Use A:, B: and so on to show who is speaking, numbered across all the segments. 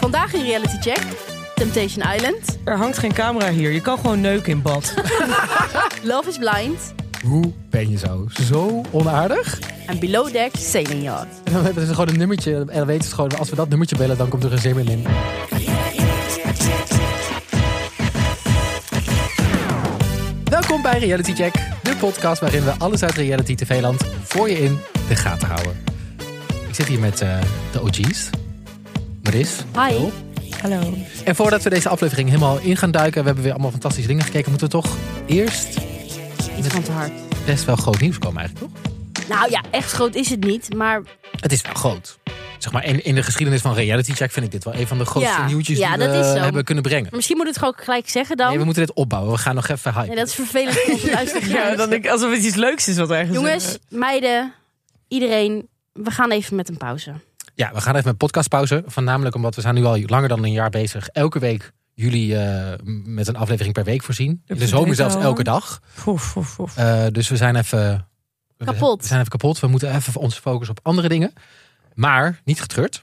A: Vandaag in Reality Check. Temptation Island.
B: Er hangt geen camera hier. Je kan gewoon neuken in bad.
A: Love is Blind.
C: Hoe ben je zo? Zo onaardig?
A: En Below Deck Sailing Yard.
C: En dan hebben ze gewoon een nummertje. En dan weten ze gewoon, als we dat nummertje bellen, dan komt er een zeemeermin. in. Welkom bij Reality Check, de podcast waarin we alles uit reality tv-land voor je in de gaten houden. Ik zit hier met eh, de OG's, Maris.
A: Hi.
C: Hallo.
B: Hallo.
C: En voordat we deze aflevering helemaal in gaan duiken, we hebben weer allemaal fantastische dingen gekeken, moeten we toch eerst
A: Iets van te hard.
C: best wel groot nieuws komen eigenlijk, toch?
A: Nou ja, echt groot is het niet, maar
C: Het is wel groot. Zeg maar, in, in de geschiedenis van Reality Check vind ik dit wel een van de grootste
A: Ja,
C: nieuwtjes
A: ja,
C: die we
A: dat is zo.
C: hebben kunnen brengen.
A: misschien moet ik het gewoon gelijk zeggen dan.
C: Nee, we moeten dit opbouwen. We gaan nog even hypen.
A: Nee, dat is vervelend voor onze luisteraars.
B: Ja, dan denk ik alsof het iets leuks is wat ergens...
A: dus, Jongens, meiden, iedereen, we gaan even met een pauze.
C: Ja, we gaan even met podcastpauze. Voornamelijk omdat we zijn nu al langer dan een jaar bezig. Elke week jullie eh, m- met een aflevering per week voorzien. In de zomer
B: betekent
C: zelfs
B: wel.
C: elke dag.
B: Oef, oef, oef.
C: Eh, dus we zijn even... we-
A: Kapot.
C: We zijn even kapot. We moeten even ons focussen op andere dingen. Maar niet getreurd.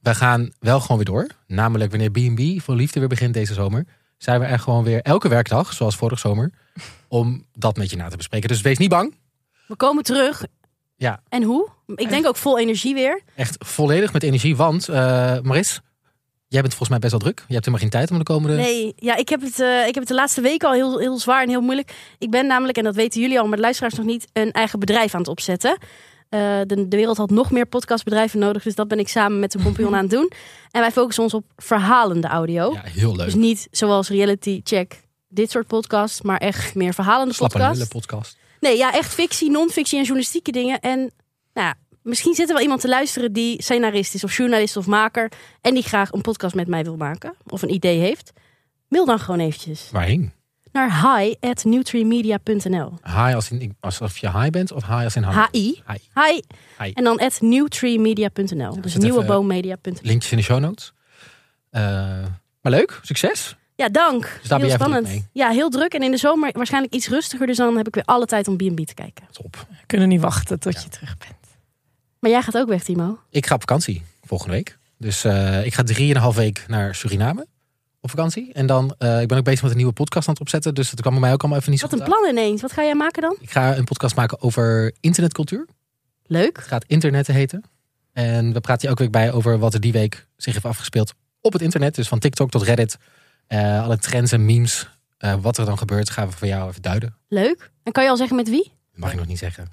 C: We gaan wel gewoon weer door. Namelijk wanneer B&B voor liefde weer begint deze zomer. Zijn we er gewoon weer elke werkdag, zoals vorig zomer. Om dat met je na te bespreken. Dus wees niet bang.
A: We komen terug.
C: Ja.
A: En hoe? Ik denk ook vol energie weer.
C: Echt volledig met energie, want eh, Maris, jij bent volgens mij best wel druk. Je hebt helemaal geen tijd om de komende...
A: Nee, ja, ik heb het, eh, ik heb het de laatste weken al heel, heel zwaar en heel moeilijk. Ik ben namelijk, en dat weten jullie al, maar de luisteraars nog niet, een eigen bedrijf aan het opzetten. Eh, de, de wereld had nog meer podcastbedrijven nodig, dus dat ben ik samen met een compagnon aan het doen. En wij focussen ons op verhalende audio.
C: Ja, heel leuk.
A: Dus niet zoals Reality Check, dit soort podcasts, maar echt meer verhalende
C: Slappe
A: podcasts.
C: lullen podcast.
A: Nee, ja, echt fictie, non-fictie en journalistieke dingen. En nou ja, misschien zit er wel iemand te luisteren die scenarist is of journalist of maker. En die graag een podcast met mij wil maken of een idee heeft. Mail dan gewoon eventjes
C: Waarheen?
A: naar hi at newtreemedia.nl.
C: High als in, alsof je high bent of high als in high?
A: H-I.
C: Hi.
A: Hi.
C: Hi.
A: En dan at newtreemedia.nl. dus
C: zet even-
A: nieuweboommedia.nl.
C: Linkjes in de show notes. Eh, maar leuk, succes.
A: Ja, dank.
C: Dus daar
A: heel
C: ben jij druk
A: spannend.
C: mee.
A: Ja, heel druk. En in de zomer waarschijnlijk iets rustiger. Dus dan heb ik weer alle tijd om B&B te kijken.
C: Top.
B: We kunnen niet wachten tot
C: Ja.
B: je terug bent.
A: Maar jij gaat ook weg, Timo.
C: Ik ga op vakantie volgende week. Dus eh, ik ga drieënhalf week naar Suriname op vakantie. En dan, eh, ik ben ook bezig met een nieuwe podcast aan het opzetten. Dus dat kwam bij mij ook allemaal even niet zo
A: Wat een
C: goed uit.
A: plan ineens. Wat ga jij maken dan?
C: Ik ga een podcast maken over internetcultuur.
A: Leuk.
C: Het gaat internet heten. En we praten hier elke week bij over wat er die week zich heeft afgespeeld op het internet. Dus van TikTok tot Reddit. eh, alle trends en memes. eh, wat er dan gebeurt, gaan we voor jou even duiden.
A: Leuk. En kan je al zeggen met wie?
C: Dat mag ik nog niet zeggen.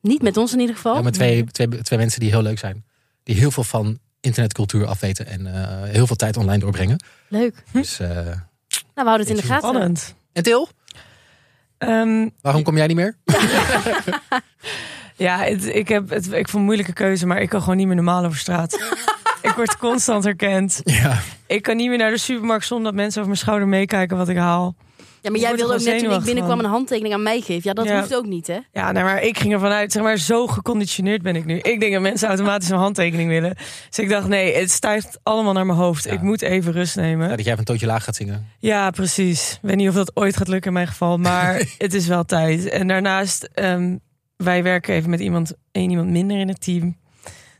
A: Niet met ons in ieder geval.
C: Ja, maar twee, twee, twee mensen die heel leuk zijn. Die heel veel van internetcultuur afweten. En eh, heel veel tijd online doorbrengen.
A: Leuk.
C: Dus, eh,
A: Nou, we houden het in de
C: Beetje
A: gaten.
B: Spannend.
C: En Til,
B: Ehm,
C: waarom kom jij niet meer?
B: ja, het- ik, heb, het, ik vond het een moeilijke keuze, maar ik kan gewoon niet meer normaal over straat. ik word constant herkend.
C: Ja.
B: Ik kan niet meer naar de supermarkt zonder dat mensen over mijn schouder meekijken wat ik haal.
A: Ja, maar jij
B: Ik word er
A: wilde ook net
B: gewoon
A: toen ik
B: zenuwachtig
A: binnenkwam
B: van.
A: een handtekening aan mij geven. Ja, dat
B: Ja.
A: hoeft ook niet, hè?
B: Ja, nou, maar ik ging ervan uit, zeg maar, zo geconditioneerd ben ik nu. Ik denk dat mensen automatisch een handtekening willen. Dus ik dacht, nee, het stijgt allemaal naar mijn hoofd.
C: Ja.
B: Ik moet even rust
C: Ja,
B: nemen.
C: dat jij van Tootje Laag gaat zingen.
B: Ja, precies. Ik weet niet of dat ooit gaat lukken in mijn geval, maar het is wel tijd. En daarnaast, ehm, wij werken even met iemand, één iemand minder in het team.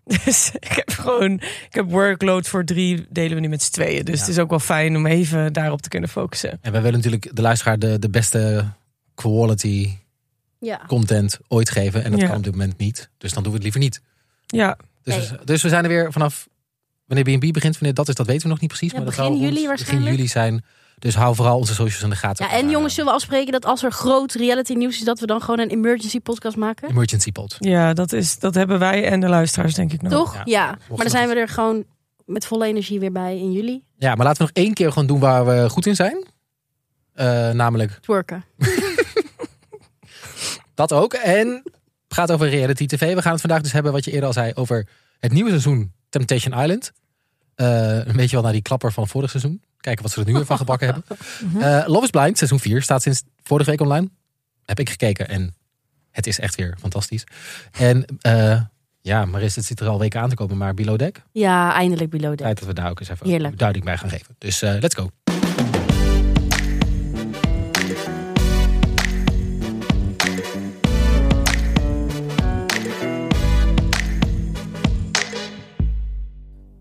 B: Dus ik heb gewoon, ik heb workload voor drie, delen we nu met z'n tweeën. Dus
C: Ja.
B: het is ook wel fijn om even daarop te kunnen focussen.
C: En wij willen natuurlijk de luisteraar de, de beste quality
A: Ja.
C: content ooit geven. En dat
B: Ja.
C: kan op dit moment niet. Dus dan doen we het liever niet.
B: Ja,
C: Dus, we- dus we zijn er weer vanaf wanneer B&B begint. Wanneer dat is, dat weten we nog niet precies.
A: Ja,
C: maar dat
A: begin
C: zal rond
A: juli waarschijnlijk.
C: Begin juli zijn. Dus hou vooral onze socials in de gaten. Eh,
A: Ja, en jongens, zullen we afspreken dat als er groot reality nieuws is, dat we dan gewoon een emergency podcast maken?
C: Emergency pod.
B: ja dat, is, dat hebben wij en de luisteraars denk ik nog.
A: Toch?
C: ja.
A: Ja.
C: nog
A: Maar dan zijn we er gewoon met volle energie weer bij in juli.
C: Ja, maar laten we nog één keer gewoon doen waar we goed in zijn. Eh, namelijk
A: Twerken.
C: dat ook. En het gaat over reality tv. We gaan het vandaag dus hebben, wat je eerder al zei, over het nieuwe seizoen Temptation Island. Eh, een beetje wel naar die klapper van vorig seizoen. Kijken wat ze er nu weer van gebakken hebben. Eh, Love is Blind, seizoen 4, staat sinds vorige week online. Heb ik gekeken en het is echt weer fantastisch. En eh, ja, Maris, het zit er al weken aan te komen, maar Below Deck.
A: Ja, eindelijk below deck.
C: Tijd dat we daar ook eens even
A: Heerlijk.
C: duiding bij gaan geven. Dus eh, let's go.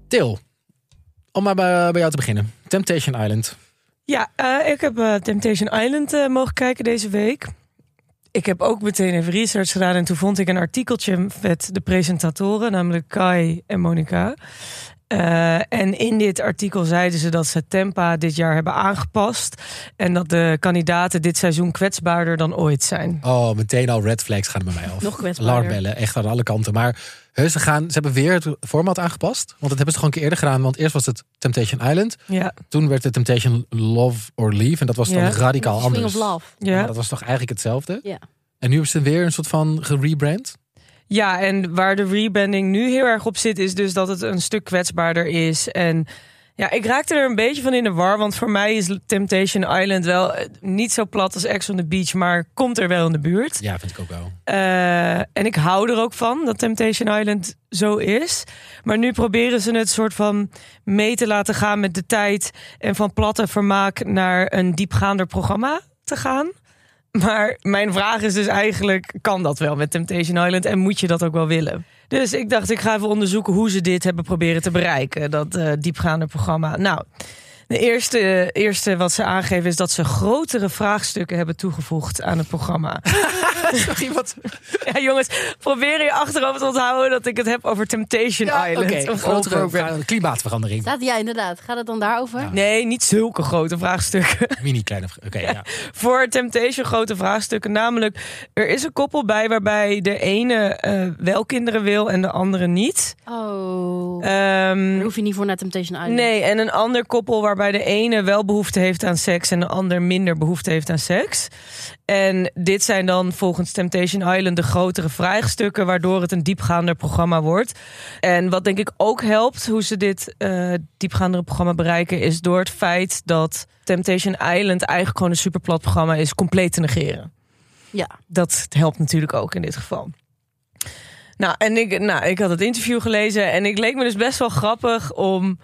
C: Til, Om maar bij, bij jou te beginnen. Temptation Island.
B: Ja, eh, ik heb eh, Temptation Island eh, mogen kijken deze week. Ik heb ook meteen even research gedaan en toen vond ik een artikeltje met de presentatoren, namelijk Kai en Monica. Eh, en in dit artikel zeiden ze dat ze het tempa dit jaar hebben aangepast en dat de kandidaten dit seizoen kwetsbaarder dan ooit zijn.
C: Oh, meteen al red flags gaan bij mij af.
A: Nog kwetsbaarder.
C: Alarmbellen, echt aan alle kanten. Maar heus, ze, gaan, ze hebben weer het format aangepast. Want dat hebben ze gewoon een keer eerder gedaan. Want eerst was het Temptation Island.
B: Ja,
C: Toen werd het Temptation Love or Leave. En dat was
B: Ja.
C: dan radicaal
A: Swing
C: anders.
A: of Love.
C: Maar
B: ja.
C: dat was toch eigenlijk hetzelfde?
A: Ja.
C: En nu hebben ze weer een soort van gerebrand.
B: Ja, en waar de rebranding nu heel erg op zit, is dus dat het een stuk kwetsbaarder is. En ja, ik raakte er een beetje van in de war, want voor mij is Temptation Island wel eh, niet zo plat als Ex on the Beach, maar komt er wel in de buurt.
C: Ja, vind ik ook wel.
B: Eh, en ik hou er ook van dat Temptation Island zo is. Maar nu proberen ze het soort van mee te laten gaan met de tijd. En van platte vermaak naar een diepgaander programma te gaan. Maar mijn vraag is dus eigenlijk: kan dat wel met Temptation Island? En moet je dat ook wel willen? Dus ik dacht, ik ga even onderzoeken hoe ze dit hebben proberen te bereiken. Dat eh diepgaande programma. Nou, de eerste, eerste wat ze aangeven is dat ze grotere vraagstukken hebben toegevoegd aan het programma.
C: Zag iemand?
B: Ja, jongens, probeer je achterover te onthouden dat ik het heb over Temptation Island.
C: Oké,
B: Een
C: grotere
B: grotere vraag-
C: vraag- klimaatverandering.
A: Staat, ja, inderdaad. Gaat het dan daarover?
C: Ja.
B: Nee, niet zulke grote vraagstukken.
C: Mini kleine. vra- Oké, ja.
B: Voor Temptation grote vraagstukken. Namelijk, er is een koppel bij waarbij de ene eh, wel kinderen wil en de andere niet.
A: Oh.
B: Ehm,
A: Daar hoef je niet voor naar Temptation Island.
B: nee, en een ander koppel waarbij de ene wel behoefte heeft aan seks en de ander minder behoefte heeft aan seks. En dit zijn dan volgens Temptation Island de grotere vraagstukken, waardoor het een diepgaander programma wordt. En wat denk ik ook helpt, hoe ze dit eh diepgaandere programma bereiken, is door het feit dat Temptation Island eigenlijk gewoon een superplat programma is, compleet te negeren
A: Ja.
B: dat helpt natuurlijk ook in dit geval. Nou, en ik, nou, ik had het interview gelezen en ik leek me dus best wel grappig om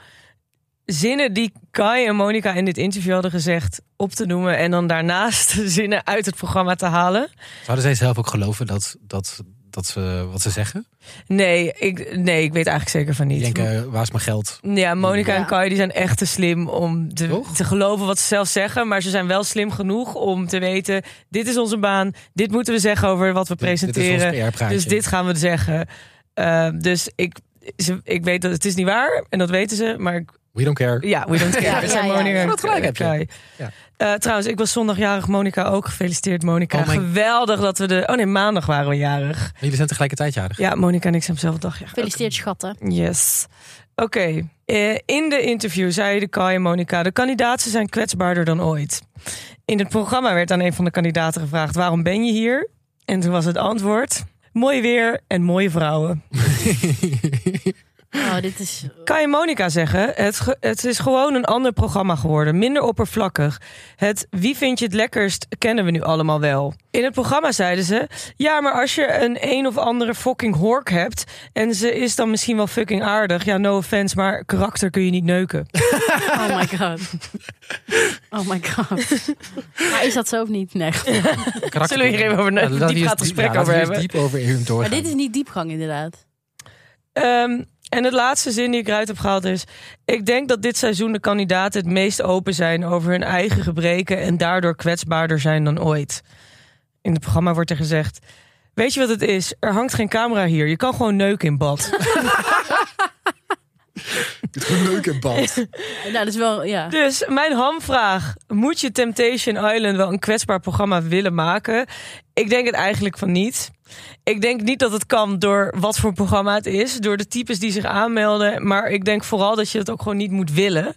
B: zinnen die Kai en Monica in dit interview hadden gezegd op te noemen en dan daarnaast zinnen uit het programma te halen.
C: Zouden zij zelf ook geloven dat, dat, dat ze wat ze zeggen?
B: Nee, ik, nee, ik weet eigenlijk zeker van
C: Die
B: niet.
C: denken, eh, waar is mijn geld?
B: Ja, Monica
A: Ja.
B: en Kai die zijn echt te slim om te,
C: Toch?
B: te geloven wat ze zelf zeggen. Maar ze zijn wel slim genoeg om te weten: dit is onze baan, dit moeten we zeggen over wat we
C: Dit is
B: presenteren.
C: ons PR-praatje.
B: Dus dit gaan we zeggen. Eh, dus ik, ze- ik weet dat het is niet waar en dat weten ze, maar ik-
C: We don't care.
B: ja, we don't care.
A: Ja,
B: We zijn
A: ja, ja,
B: Monica
A: ja.
B: en
C: Wat gelijk heb je.
B: Kai.
C: Ja.
B: Eh, trouwens, ik was zondagjarig Monica ook. Gefeliciteerd, Monica.
C: Oh mijn-
B: Geweldig dat we de. Oh nee, maandag waren we jarig.
C: Jullie zijn tegelijkertijd jarig.
B: Ja, Monica en ik zijn op dezelfde dag. jarig.
A: Gefeliciteerd, schatten.
B: Yes. Oké. Eh, in de interview zeiden Kai en Monica... de kandidaten zijn kwetsbaarder dan ooit. In het programma werd aan een van de kandidaten gevraagd... waarom ben je hier? En toen was het antwoord... mooi weer en mooie vrouwen.
A: Oh, dit is...
B: Kai en Monica zeggen... Het, ge- het is gewoon een ander programma geworden. Minder oppervlakkig. Het wie vind je het lekkerst kennen we nu allemaal wel. In het programma zeiden ze... ja, maar als je een een of andere fucking hork hebt... en ze is dan misschien wel fucking aardig... ja, no offense, maar karakter kun je niet neuken.
A: Oh my god. Oh my god. Maar is dat zo of niet? Nee.
C: Karakter-
B: Zullen we hier even over-
C: laten we hier
B: diep
C: eens
B: gaat gesprek
C: ja,
B: over
C: laten we hier eens
B: hebben.
C: diep over hun
A: Maar
C: doorgaan.
A: dit is niet diepgang, inderdaad.
B: Ehm, en het laatste zin die ik eruit heb gehaald is... Ik denk dat dit seizoen de kandidaten het meest open zijn over hun eigen gebreken... en daardoor kwetsbaarder zijn dan ooit. In het programma wordt er gezegd... Weet je wat het is? Er hangt geen camera hier. Je kan gewoon neuken in bad.
C: een leuke band.
A: Nou, dat is wel... Ja.
B: Dus mijn hamvraag: moet je Temptation Island wel een kwetsbaar programma willen maken? Ik denk het eigenlijk van niet. Ik denk niet dat het kan door wat voor programma het is, door de types die zich aanmelden. Maar ik denk vooral dat je het ook gewoon niet moet willen.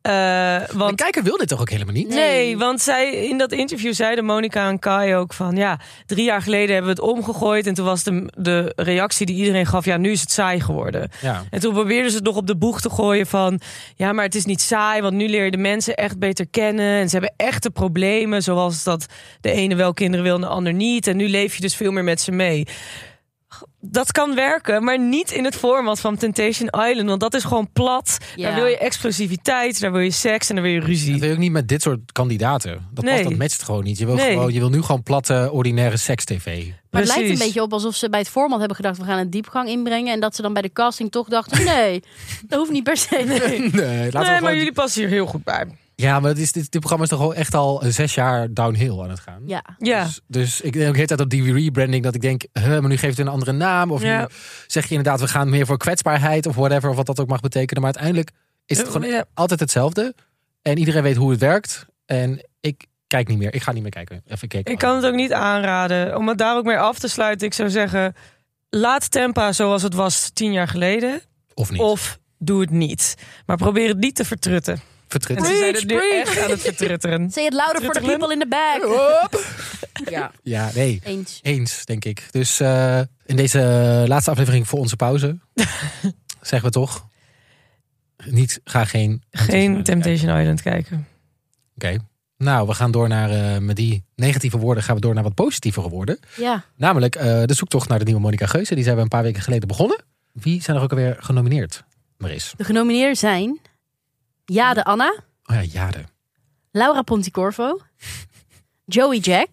B: Eh,
C: De
B: want
C: kijker wil dit toch ook helemaal niet?
A: Nee.
B: Nee, want zij, in dat interview zeiden Monica en Kai ook van... ja, drie jaar geleden hebben we het omgegooid... en toen was de, de reactie die iedereen gaf... ja, nu is het saai geworden.
C: Ja.
B: En toen probeerden ze het nog op de boeg te gooien van... ja, maar het is niet saai, want nu leer je de mensen echt beter kennen... en ze hebben echte problemen, zoals dat de ene wel kinderen wil en de ander niet... en nu leef je dus veel meer met ze mee. dat kan werken, maar niet in het format van Temptation Island. Want dat is gewoon plat.
A: Ja.
B: Daar wil je explosiviteit, daar wil je seks en daar wil je
C: Dat
B: ruzie.
C: wil je ook niet met dit soort kandidaten. Dat,
B: Nee.
C: past, dat matcht gewoon niet. Je wil,
B: Nee.
C: gewoon, je wil nu gewoon platte, ordinaire seks-tv.
A: Maar het lijkt
B: Precies.
A: een beetje op alsof ze bij het format hebben gedacht... we gaan een diepgang inbrengen. En dat ze dan bij de casting toch dachten... nee, dat hoeft niet per se.
C: Nee, laten we
B: nee, maar
C: gewoon-
B: jullie passen hier heel goed bij.
C: Ja, maar het is, dit, dit programma is toch al echt al een zes jaar downhill aan het gaan.
A: Ja.
B: Ja.
C: Dus, dus ik denk ook de hele tijd op die rebranding dat ik denk, huh, maar nu geeft het een andere naam. Of
B: Ja.
C: nu zeg je inderdaad, we gaan meer voor kwetsbaarheid of whatever, of wat dat ook mag betekenen. Maar uiteindelijk is het
B: Ja,
C: gewoon
B: ja.
C: altijd hetzelfde. En iedereen weet hoe het werkt. En ik kijk niet meer. Ik ga niet meer kijken. Even kijken.
B: Ik kan het ook niet aanraden. Om het daar ook mee af te sluiten, ik zou zeggen... laat Tempa zoals het was tien jaar geleden.
C: Of niet.
B: Of doe het niet. Maar probeer het niet te vertrutten. En
C: Vertrut.
B: ze zijn het
A: Preach,
B: nu
A: preach.
B: echt aan het vertrutteren.
A: Say it louder for the
B: Twitter-lem.
A: people in the back. Ja,
C: Ja, nee.
A: eens.
C: Eens, denk ik. Dus eh, in deze laatste aflevering voor onze pauze, zeggen we toch, niet, ga geen...
B: Geen Temptation Island kijken.
C: Oké. Nou, we gaan door naar, eh, met die negatieve woorden, gaan we door naar wat positievere woorden.
A: Ja.
C: Namelijk eh, de zoektocht naar de nieuwe Monica Geuze. Die zijn we een paar weken geleden begonnen. Wie zijn er ook alweer genomineerd? Maris.
A: De genomineerden zijn... Jade Anna,
C: Oh ja, Jade.
A: Laura Ponticorvo, Joey Jack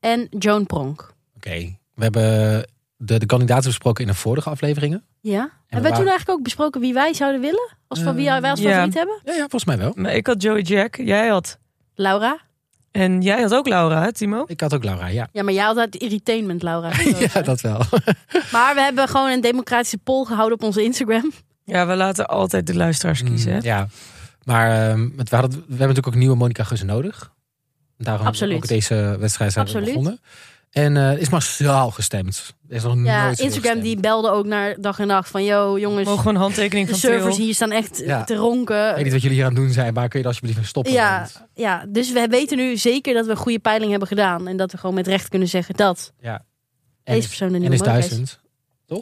A: en Joan Pronk.
C: Oké. We hebben de, de kandidaten besproken in de vorige afleveringen.
A: Ja. Hebben we
C: waren- Eh,
A: toen eigenlijk ook besproken wie wij zouden willen? Als van wie wij als
B: ja.
A: favoriet hebben?
C: Ja, ja volgens mij wel.
B: Maar ik had Joey Jack, jij had...
A: Laura.
B: En jij had ook Laura, hè, Timo?
C: Ik had ook Laura, ja.
A: Ja, maar jij had het irritainment, Laura. eh.
C: Ja, dat wel.
A: Maar we hebben gewoon een democratische poll gehouden op onze Instagram.
B: Ja, we laten altijd de luisteraars kiezen. hè?
C: Hmm. Mm, Ja. Maar ehm, het- we, hadden, we hebben natuurlijk ook nieuwe Monica Geuze nodig. Daarom
A: Absoluut.
C: hebben we ook deze wedstrijd zijn we
A: Absoluut.
C: begonnen. En eh is massaal gestemd. Er is nog
A: Ja,
C: nooit zo
A: Instagram
C: gestemd.
A: die belde ook naar dag en nacht van... Yo, jongens,
B: Mogen we een handtekening
A: de
B: van Til?
A: servers hier staan echt eh,
C: Ja.
A: te ronken.
C: Ik weet niet wat jullie hier aan het doen zijn, maar kun je dat alsjeblieft even stoppen?
A: Ja.
C: Want-
A: Ja, dus we weten nu zeker dat we een goede peiling hebben gedaan. En dat we gewoon met recht kunnen zeggen dat
C: en
A: deze
C: is,
A: persoon de
C: en
A: nieuwe
C: is
A: Monica is.
C: duizend.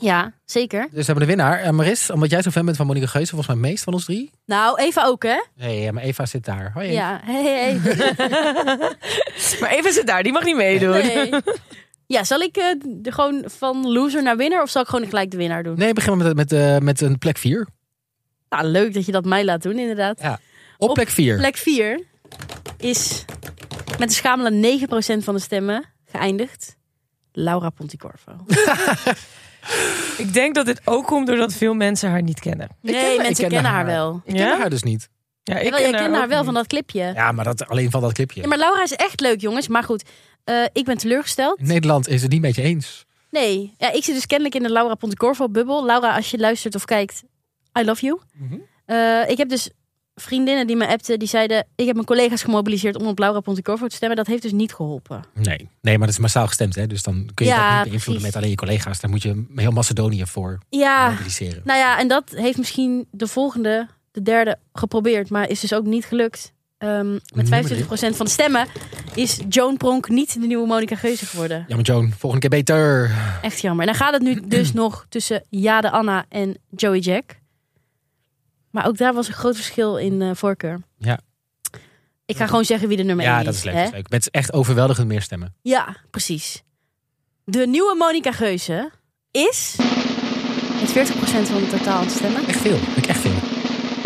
A: Ja, zeker.
C: Dus we hebben de winnaar. En Maris, omdat jij zo'n fan bent van Monica Geuze, volgens mij het meest van ons drie.
A: Nou, Eva ook, hè?
C: Nee, ja, maar Eva zit daar. Hoi.
A: Ja, hey, hey, hey.
B: maar even zit daar, die mag niet meedoen.
A: Nee. Ja, zal ik eh, de, gewoon van loser naar winnaar of zal ik gewoon gelijk de winnaar doen?
C: Nee, begin maar met, met, eh, met een plek 4.
A: Nou, leuk dat je dat mij laat doen, inderdaad.
C: Op,
A: Op
C: plek 4.
A: Plek 4 is met een schamele 9% van de stemmen geëindigd. Laura Ponticorvo.
B: Ik denk dat dit ook komt doordat veel mensen haar niet kennen.
A: Nee,
C: ken haar- ik
A: mensen
C: ken
A: kennen haar,
C: haar.
A: wel.
C: Ik ken haar dus niet.
B: Ja, ik
A: Jawel, jij kent haar
B: ook
A: wel
B: niet.
A: van dat clipje. Ja.
C: Ja, maar dat, alleen van dat clipje.
A: maar Laura is echt leuk, jongens. Maar goed, eh, ik ben teleurgesteld.
C: In Nederland is het niet met je eens.
A: Nee, ja, ik zit dus kennelijk in de Laura Pontecorvo-bubbel. Laura, als je luistert of kijkt, I love you.
C: Mhm.
A: Eh, ik heb dus vriendinnen die me appten, die zeiden... ik heb mijn collega's gemobiliseerd om op Laura Pontecorvo te stemmen. Dat heeft dus niet geholpen.
C: Nee. nee, maar dat is massaal gestemd. Hè? Dus dan kun je
A: Ja,
C: dat niet beïnvloeden
A: precies.
C: met alleen je collega's. Daar moet je heel Macedonië voor
A: Ja,
C: mobiliseren.
A: nou ja, en dat heeft misschien de volgende, de derde, geprobeerd... maar is dus ook niet gelukt. Ehm,
C: Nummer
A: met 25% van de stemmen is Joan Pronk niet de nieuwe Monica Geuze geworden.
C: Jammer Joan, volgende keer beter.
A: Echt jammer. En dan gaat het nu dus nog tussen Jade Anna en Joey Jack. Maar ook daar was een groot verschil in eh, voorkeur.
C: Ja.
A: Ik ga gewoon zeggen wie de nummer 1
C: Ja,
A: is.
C: dat is leuk.
A: hè?
C: Dat is leuk. Met echt overweldigend meer stemmen.
A: Ja, precies. De nieuwe Monica Geuze is... met 40% van het totaal aan het stemmen.
C: Echt veel. Ik echt veel.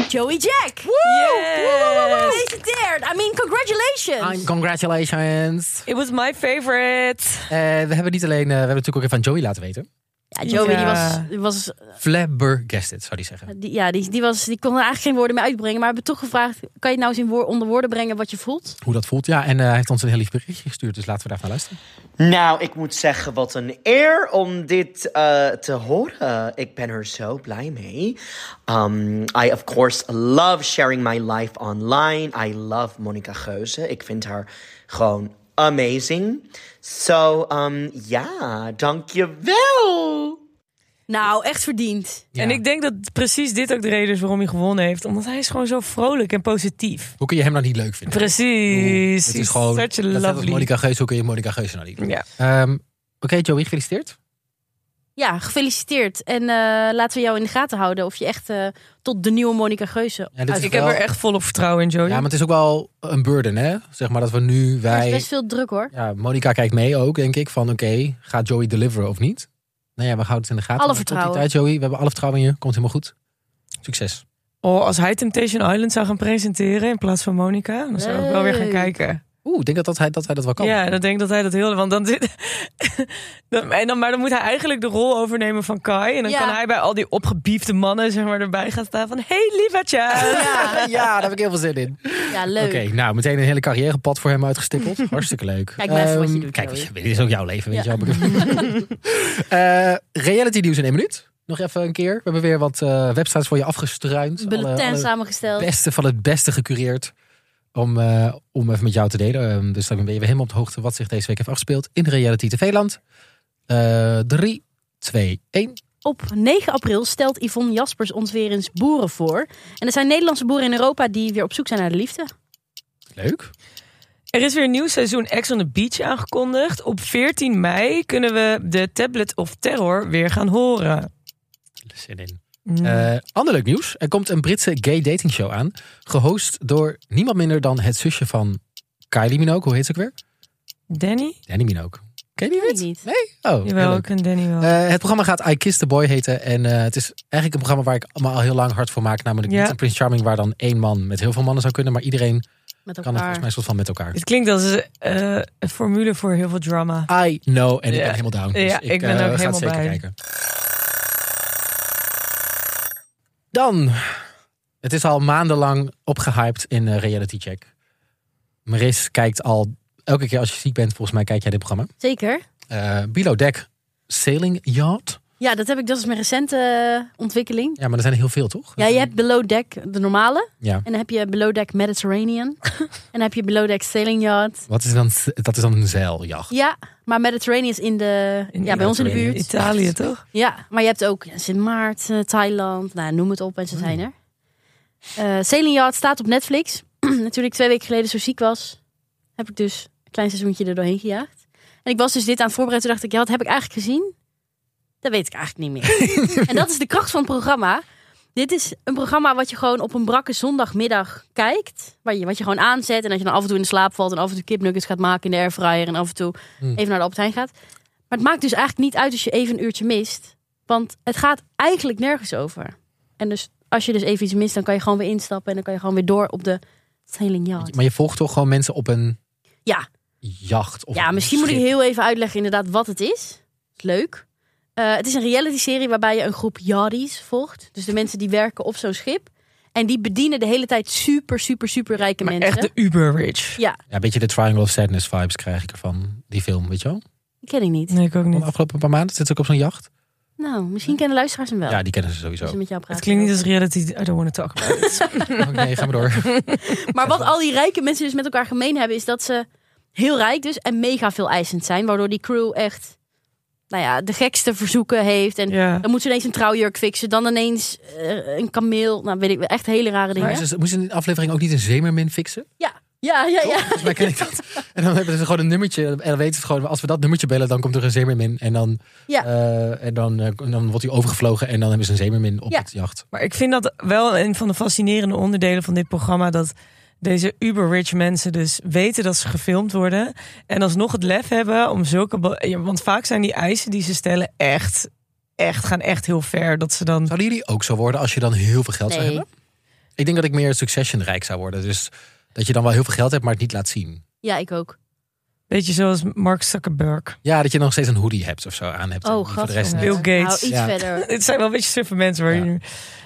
A: Joey Jack!
B: Yes.
A: Gefeliciteerd! I mean, congratulations!
C: Congratulations.
B: It was my favorite.
C: Eh, we hebben niet alleen, eh, we hebben natuurlijk ook even aan Joey laten weten.
A: Ja, Joey Die
B: Ja.
A: was... Die was
C: Flabbergasted, zou die zeggen.
A: die, ja, die, die, was, die kon er eigenlijk geen woorden meer uitbrengen. Maar we hebben toch gevraagd... kan je het nou eens in woor- onder woorden brengen wat je voelt?
C: Hoe dat voelt, ja. En eh, hij heeft ons een heel lief berichtje gestuurd, dus laten we daarvan luisteren.
D: Nou, ik moet zeggen, wat een eer om dit eh, te horen. Ik ben er zo blij mee. Um, I, of course, love sharing my life online. I love Monica Geuze. Ik vind haar gewoon amazing. So, um, ja, dankjewel.
A: Nou, echt verdiend.
C: Ja.
B: En ik denk dat precies dit ook de reden is waarom hij gewonnen heeft. Omdat hij is gewoon zo vrolijk en positief.
C: Hoe kun je hem nou niet leuk vinden?
B: Precies.
C: Het is gewoon,
B: Such a
C: dat is net als
B: lovely.
C: Monica Geus, hoe kun je Monica Geus nou niet leuk
B: Ja.
C: vinden? Ehm, Oké, Joey, gefeliciteerd.
A: Ja, gefeliciteerd. En eh, laten we jou in de gaten houden of je echt eh, tot de nieuwe Monica Geuze.
C: Ja, dit is
B: Ah, Ik
C: wel-
B: heb er echt volop vertrouwen in, Joey.
C: Ja, maar het is ook wel een burden, hè? Zeg maar dat we nu,
A: Er is
C: wij...
A: best veel druk hoor.
C: Ja, Monica kijkt mee ook, denk ik, van oké, gaat Joey deliveren of niet? Nou ja, we houden het in de gaten.
A: Alle
C: Maar tot die
A: vertrouwen.
C: tijd, Joey, we hebben alle vertrouwen in je. Komt helemaal goed. Succes.
B: Oh, als hij Temptation Island zou gaan presenteren in plaats van Monica, dan zou ik wel weer gaan
A: Leuk.
B: kijken.
C: Oeh, ik denk dat, dat, hij, dat hij dat wel kan.
B: Ja, dan denk ik dat hij dat heel. Want dan zit. dan, en dan, maar dan moet hij eigenlijk de rol overnemen van Kai. En dan
A: Ja.
B: kan hij bij al die opgebiefde mannen zeg maar, erbij gaan staan van: hey, lievertje.
A: Ja,
C: ja, daar heb ik heel veel zin in.
A: ja
C: Oké,
A: leuk.
C: nou, meteen een hele carrièrepad voor hem uitgestippeld. Hartstikke leuk.
A: Kijk maar even wat je
C: Ehm,
A: doet,
C: Kijk, wat
A: Joey.
C: je- dit is ook jouw leven, weet
A: Ja.
C: je wel. Eh, reality nieuws in één minuut. Nog even een keer. We hebben weer wat eh, websites voor je afgestruind. Alle-
A: Bulletin
C: alle
A: samengesteld.
C: beste van het beste gecureerd. Om, eh, om even met jou te delen. Ehm, dus dan ben je weer helemaal op de hoogte wat zich deze week heeft afgespeeld in Reality Eh, TV-land. 3, 2, 1.
A: Op 9 april stelt Yvonne Jaspers ons weer eens boeren voor. En er zijn Nederlandse boeren in Europa die weer op zoek zijn naar de liefde.
C: Leuk.
B: Er is weer een nieuw seizoen Ex on the Beach aangekondigd. Op 14 mei kunnen we de Tablet of Terror weer gaan horen.
C: Zin in.
B: Mm.
C: Eh, ander leuk nieuws. Er komt een Britse gay dating show aan. Gehost door niemand minder dan het zusje van Kylie Minogue. Hoe heet ze ook weer?
B: Danny?
C: Danny Minogue. Ken je
A: Weet
C: dit?
A: ik niet.
C: Oh, heel
B: Jawel,
C: leuk.
B: ik ken Danny wel.
C: Eh, het programma gaat I Kiss the Boy heten. En eh, het is eigenlijk een programma waar ik allemaal al heel lang hard voor maak. Namelijk
B: Ja.
C: niet een Prince Charming waar dan één man met heel veel mannen zou kunnen. Maar iedereen
A: Met
C: kan het volgens mij
A: elkaar.
C: een soort van met elkaar.
B: Het klinkt als eh, een formule voor heel veel drama.
C: I know. En ik
B: Ja.
C: ben helemaal down. Dus
B: Ja, ik ben
C: eh,
B: ook
C: ga het
B: helemaal
C: zeker
B: bij.
C: kijken. Dan. Het is al maandenlang opgehyped in eh, Reality Check. Maris kijkt al... Elke keer als je ziek bent, volgens mij kijk jij dit programma.
A: Zeker.
C: Eh Below Deck Sailing Yacht.
A: Ja, dat heb ik. Dat is mijn recente eh, ontwikkeling.
C: Ja, maar er zijn er heel veel, toch?
A: Ja, je hebt Below Deck, de normale.
C: Mhm. Ja.
A: En dan heb je Below Deck Mediterranean. en dan heb je Below Deck Sailing Yacht.
C: Wat is dan, dat is dan een zeiljacht.
A: Ja, maar Mediterranean is in de,
B: In
A: ja, bij ons in de
C: Mediterranean.
A: buurt.
B: Italië, toch?
A: Ja, maar je hebt ook ja, Sint Maarten, Thailand, nou, noem het op en
C: Mm.
A: ze zijn er. Eh Sailing Yard staat op Netflix. Natuurlijk twee weken geleden zo ziek was, heb ik dus een klein seizoentje er doorheen gejaagd. En ik was dus dit aan het voorbereiden, toen dacht ik, ja, wat heb ik eigenlijk gezien? Dat weet ik eigenlijk niet meer. en dat is de kracht van het programma. Dit is een programma wat je gewoon op een brakke zondagmiddag kijkt. Waar je, wat je gewoon aanzet en dat je dan af en toe in de slaap valt. En af en toe kipnuggets gaat maken in de airfryer. En af en toe
C: Hmm.
A: even naar de Albert Heijn gaat. Maar het maakt dus eigenlijk niet uit als je even een uurtje mist. Want het gaat eigenlijk nergens over. En dus als je dus even iets mist, dan kan je gewoon weer instappen. En dan kan je gewoon weer door op de sailing yacht.
C: Maar je volgt toch gewoon mensen op een
A: Ja.
C: jacht? Of
A: Ja,
C: een
A: misschien moet ik
C: schip.
A: heel even uitleggen inderdaad wat het is. Leuk. Eh, het is een reality serie waarbij je een groep yardies volgt. Dus de mensen die werken op zo'n schip. En die bedienen de hele tijd super, super, super rijke
B: Maar
A: mensen.
B: echt de uber-rich.
A: Ja,
C: Ja, een beetje de Triangle of Sadness vibes krijg ik ervan. Die film, weet je wel?
A: die ken ik niet.
B: Nee, ik ook
C: Van
B: niet.
C: de afgelopen paar maanden zit ze ook op zo'n jacht.
A: Nou, misschien kennen luisteraars hem wel.
C: Ja, die kennen ze
A: Als ze
C: sowieso.
A: met jou praten.
B: Het klinkt niet als reality. I don't want to talk about it.
C: Oh, nee, ga maar door.
A: Maar wat al die rijke mensen dus met elkaar gemeen hebben, is dat ze heel rijk dus en mega veel eisend zijn. Waardoor die crew echt, nou ja, de gekste verzoeken heeft. En
B: ja.
A: dan moet ze ineens een trouwjurk fixen, dan ineens eh, een kameel. Nou, weet ik wel, echt hele rare dingen.
C: Maar ze, moesten in de aflevering ook niet een zeemermin fixen?
A: Ja, ja, ja,
C: Toch?
A: ja.
C: Volgens mij ken ik dat. En dan hebben ze gewoon een nummertje. En dan weten ze gewoon, als we dat nummertje bellen, dan komt er een zeemermin. En dan,
A: Ja.
C: eh, en dan, eh, dan wordt hij overgevlogen en dan hebben ze een zeemermin op
A: Ja.
C: het jacht.
B: Maar ik vind dat wel een van de fascinerende onderdelen van dit programma. Dat deze uber-rich mensen dus weten dat ze gefilmd worden. En alsnog het lef hebben om zulke... be- ja, Want vaak zijn die eisen die ze stellen echt... Echt, gaan echt heel ver. Dat ze dan...
C: Zouden jullie ook zo worden als je dan heel veel geld zou
A: Nee.
C: hebben? Ik denk dat ik meer Succession rijk zou worden. Dus dat je dan wel heel veel geld hebt, maar het niet laat zien.
A: Ja, ik ook.
B: Beetje zoals Mark Zuckerberg.
C: Ja, dat je nog steeds een hoodie hebt of zo aan hebt.
A: Oh,
C: En voor de
A: gadver.
C: rest niet.
B: Bill
A: Nou,
B: Gates.
A: iets
C: Ja.
A: verder.
B: Het zijn wel een beetje suffe mensen. Waar
C: Ja.
B: je-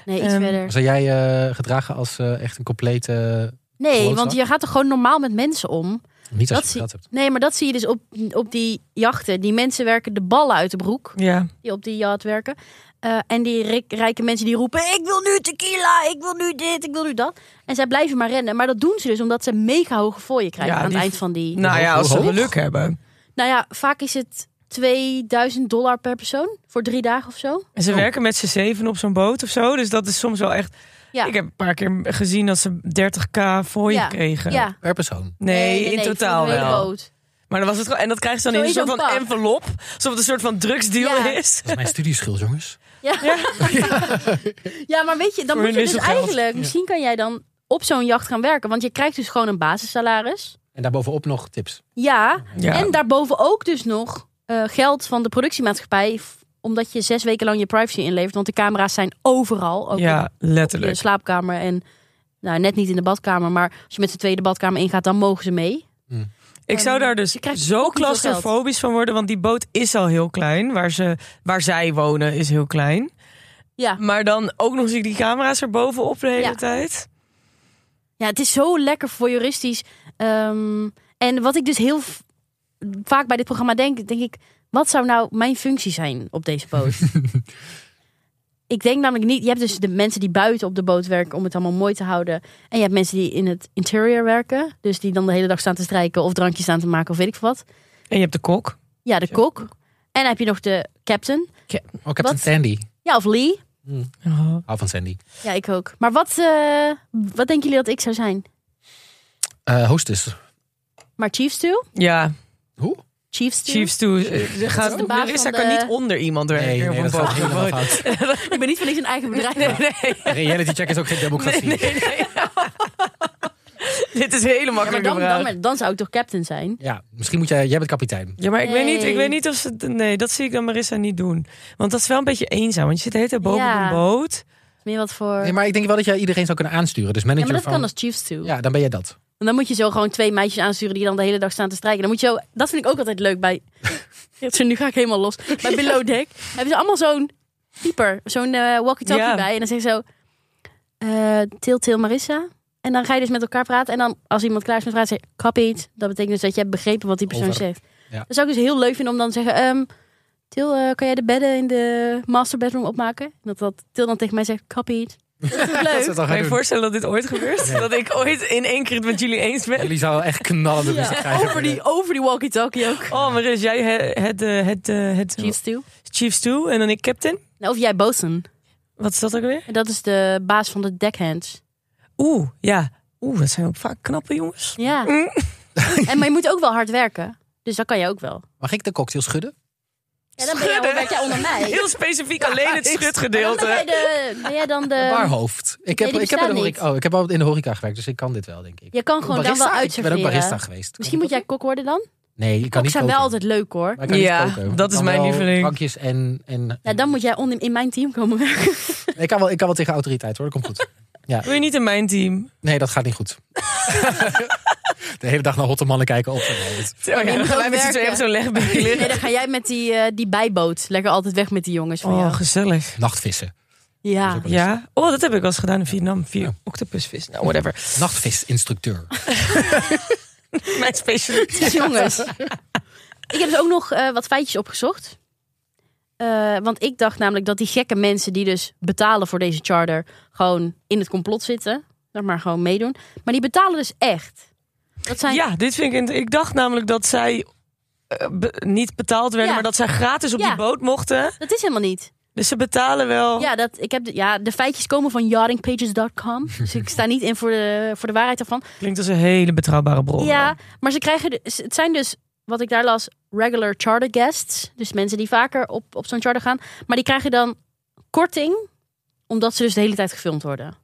A: Nee, iets
B: Ehm,
A: verder.
C: Zou jij eh, gedragen als eh, echt een complete...
A: Nee,
C: Gewoon
A: want
C: zo?
A: je gaat er gewoon normaal met mensen om.
C: niet als
A: Dat
C: je
A: zie-
C: geld hebt.
A: Nee, maar dat zie je dus op, op die jachten. Die mensen werken de ballen uit de broek.
B: ja.
A: die op die yacht werken. Eh, en die rik- rijke mensen die roepen: Ik wil nu tequila, ik wil nu dit, ik wil nu dat. En zij blijven maar rennen. Maar dat doen ze dus omdat ze mega hoge fooien krijgen
B: Ja,
A: aan het
B: die-
A: eind van die. Nou.
B: Nou ja,
C: Hoe
B: als ze
C: hoog?
B: geluk hebben.
A: ja, vaak is het 2000 dollar per persoon voor drie dagen of zo.
B: En ze
C: Oh.
B: werken met z'n zeven op zo'n boot of zo. Dus dat is soms wel echt...
A: Ja.
B: Ik heb een paar keer gezien dat ze 30k voor je
A: Ja.
B: kregen.
A: Ja.
C: Per persoon.
B: Nee, in
A: voor
B: totaal
A: de hele
B: wel.
A: boot.
B: Maar dan was het gewoon, en dat krijg je dan
A: Zo
B: in een
A: in
B: soort
A: zo'n
B: van
A: pak.
B: envelop. Alsof het een soort van drugsdeal
A: Ja.
B: is.
C: Dat is mijn studieschuld, jongens.
A: Ja. Ja. maar weet je, dan
B: Voor
A: moet
B: hun
A: je dus
B: wisselgeld.
A: eigenlijk, misschien kan jij dan op zo'n jacht gaan werken. Want je krijgt dus gewoon een basissalaris.
C: En daarbovenop nog tips.
A: Ja,
B: Ja.
A: En daarboven ook dus nog eh, geld van de productiemaatschappij. f- omdat je zes weken lang je privacy inlevert. Want de camera's zijn overal. Ook op
B: Ja,
A: de
B: letterlijk.
A: slaapkamer en nou, net niet in de badkamer. Maar als je met z'n tweede badkamer ingaat, dan mogen ze mee.
B: Ik zou daar dus
A: Je krijgt
B: zo
A: fucking veel geld.
B: claustrofobisch van worden, want die boot is al heel klein. Waar, ze, waar zij wonen is heel klein.
A: Ja.
B: Maar dan ook nog zie ik die camera's erbovenop de hele
A: Ja.
B: tijd.
A: Ja, het is zo lekker voyeuristisch. Ehm en wat ik dus heel v- vaak bij dit programma denk, denk ik, wat zou nou mijn functie zijn op deze boot? ik denk namelijk niet, je hebt dus de mensen die buiten op de boot werken om het allemaal mooi te houden. En je hebt mensen die in het interior werken, dus die dan de hele dag staan te strijken of drankjes staan te maken of weet ik veel wat.
B: En je hebt de kok.
A: Ja, de
B: Ja.
A: kok. En dan heb je nog de captain.
C: Oh, Captain
A: Wat?
C: Sandy.
A: Ja, of Lee.
B: Oh.
C: Hou van Sandy.
A: Ja, ik ook. Maar wat, eh, wat denken jullie dat ik zou zijn?
C: Eh hostess.
A: Maar Chief Stew?
B: Ja,
C: Hoe?
A: Chief Stew?
B: Chiefs toe. eh,
A: is
B: Gaat,
A: de baas
B: Marissa
A: van
B: kan
A: de-
B: niet onder iemand werken.
C: Nee,
B: op
C: nee,
B: een
C: dat gaat
B: boot.
C: helemaal fout.
A: Ik ben niet voor niks een eigen bedrijf.
C: Reality check is ook geen democratie.
B: Dit is helemaal
A: Ja, maar
B: makkelijke
A: dan,
B: vraag.
A: dan, dan zou ik toch captain zijn?
C: Ja, misschien moet jij... Jij bent kapitein.
B: Ja, maar ik, weet niet, ik
A: Nee.
B: weet niet of ze... Nee, dat zie ik dan Marissa niet doen. Want dat is wel een beetje eenzaam. Want je zit de hele tijd boven op
A: Ja.
B: een boot.
A: Meer wat voor.
C: Nee, maar ik denk wel dat jij iedereen zou kunnen aansturen. Dus
A: ja,
C: manager
A: maar dat
C: van...
A: kan dus- als Chiefs toe.
C: Ja, dan ben jij dat.
A: En dan moet je zo gewoon twee meisjes aansturen die dan de hele dag staan te strijken. Dan moet je zo, dat vind ik ook altijd leuk bij. Ja, zo, nu ga ik helemaal los. Bij Below Deck hebben ze allemaal zo'n pieper, zo'n eh, walkie-talkie
B: Ja.
A: bij. En dan zeggen ze zo: eh, Til, Til, Marissa. En dan ga je dus met elkaar praten. En dan als iemand klaar is met praten, zeg je: "Kapiet." Dat betekent dus dat je hebt begrepen wat die persoon
C: Over.
A: zegt.
C: Ja.
A: Dat zou ik dus heel leuk vinden om dan te zeggen: ehm, Til, eh, kan jij de bedden in de master bedroom opmaken? En dat, dat Til dan tegen mij zegt: Kapiet. Dat is toch
C: Dat
A: leuk.
C: ze het dan
B: Kan je
C: gaan
B: je
C: doen.
B: voorstellen dat dit ooit gebeurt? Dat ik ooit in één keer het met jullie eens ben?
C: Jullie zouden echt knallende
A: Ja,
C: muziek krijgen.
A: over, die, over die walkie-talkie ook.
B: Oh, Maris, jij het, het, eh, het, eh, het
A: Chief Stew.
B: Chiefs toe en dan ik captain.
A: Nou, of jij bosun.
B: Wat is dat ook weer?
A: En Dat is de baas van de deckhands.
B: Oeh, ja. Oeh, dat zijn ook vaak knappe jongens.
A: Ja.
B: Mm.
A: en, maar je moet ook wel hard werken. Dus dat kan je ook wel.
C: Mag ik de cocktail schudden?
A: Ja, dan ben jij,
B: Schudden.
A: werk jij onder mij.
B: Heel specifiek alleen het
A: Maar Dan ben jij,
B: schutgedeelte.
A: de, ben jij dan de...
C: Barhoofd. Ik heb,
A: Ehm, Nee, die
C: ik, heb in de
A: bestaan
C: horeca, oh, ik heb al in de horeca gewerkt, dus ik kan dit wel, denk ik.
A: Je kan gewoon dan
C: Barista?
A: wel
C: Ik ben ook barista
A: uitserveren.
C: geweest.
A: Misschien moet jij kok worden dan?
C: Nee, ik kan
A: Koks
C: niet
A: zijn wel
C: koken.
A: altijd leuk hoor.
C: Maar ik kan niet
B: Ja,
C: koken.
B: dat
C: Ik
B: is
C: kan
B: mijn
C: wel
B: lieveling.
C: Drankjes en... en
A: Ja, dan moet jij onder, in mijn team komen werken.
C: ik, kan wel, ik kan wel tegen autoriteit hoor, dat komt goed.
B: Wil je niet in mijn team?
C: Nee, dat gaat niet goed. de hele dag naar hotte mannen kijken op.
B: Oh, ja,
A: moet
B: wij
A: ook
B: met z'n
A: werken.
B: tweeën op zo'n legbankje
A: Nee,
B: liggen.
A: dan ga jij met die, eh, die bijboot. Lekker altijd weg met die jongens van
B: Oh,
A: jou.
B: gezellig.
C: Nachtvissen.
A: Ja.
B: Ja? Oh, dat heb ik wel eens gedaan in Vietnam. Vier octopusvis. Nou, whatever.
C: Nachtvisinstructeur.
B: Mijn specialiteit.
A: Jongens. Ik heb dus ook nog eh, wat feitjes opgezocht. Eh, want ik dacht namelijk dat die gekke mensen die dus betalen voor deze charter... gewoon in het complot zitten. Dat maar gewoon meedoen. Maar die betalen dus echt. Dat zijn...
B: Ja, dit vind ik... int- Ik dacht namelijk dat zij eh, be- niet betaald werden,
A: Ja.
B: maar dat zij gratis op
A: Ja.
B: die boot mochten.
A: Dat is helemaal niet.
B: Dus ze betalen wel.
A: Ja, dat, ik heb de, ja, de feitjes komen van yachtingpages.com. Dus ik sta niet in voor de, voor de waarheid daarvan.
B: Klinkt als een hele betrouwbare bron.
A: Ja, maar ze krijgen... de- Het zijn dus, wat ik daar las, regular charter guests. Dus mensen die vaker op, op zo'n charter gaan. Maar die krijgen dan korting, omdat ze dus de hele tijd gefilmd worden.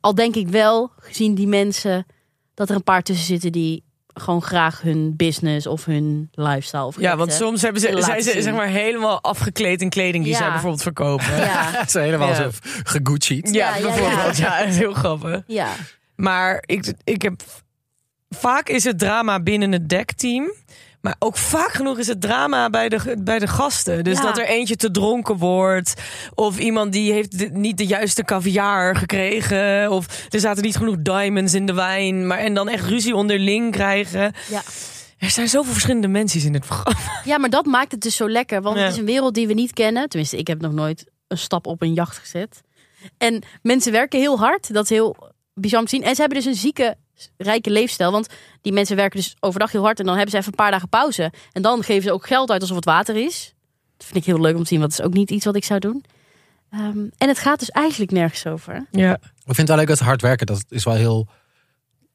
A: Al denk ik wel, gezien die mensen, dat er een paar tussen zitten die gewoon graag hun business of hun lifestyle... Of
B: Ja,
A: gekte-
B: want soms hebben ze,
A: Laten
B: zijn ze
A: zien.
B: zeg maar helemaal afgekleed in kleding die
A: Ja.
B: zij bijvoorbeeld verkopen.
A: Ja,
C: Ze zijn helemaal
B: Ja.
C: zo gegucci'd.
B: Ja,
A: Ja, ja,
B: bijvoorbeeld. Ja,
A: ja.
B: dat is heel grappig.
A: ja.
B: Maar ik, ik heb. Vaak is het drama binnen het dekteam. Maar ook vaak genoeg is het drama bij de, bij de gasten. Dus
A: Ja.
B: dat er eentje te dronken wordt. Of iemand die heeft de- niet de juiste caviar gekregen. Of er zaten niet genoeg diamonds in de wijn. Maar, en dan echt ruzie onderling krijgen.
A: ja.
B: Er zijn zoveel verschillende mensen in dit programma.
A: Ja, maar dat maakt het dus zo lekker. Want
B: Ja.
A: het is een wereld die we niet kennen. Tenminste, ik heb nog nooit een stap op een jacht gezet. En mensen werken heel hard. Dat is heel bizar om te zien. En ze hebben dus een zieke, rijke leefstijl. Want die mensen werken dus overdag heel hard. En dan hebben ze even een paar dagen pauze. En dan geven ze ook geld uit alsof het water is. Dat vind ik heel leuk om te zien. Want dat is ook niet iets wat ik zou doen. Ehm, en het gaat dus eigenlijk nergens over.
B: Ja.
C: Ik vind het wel leuk dat ze hard werken. Dat is wel heel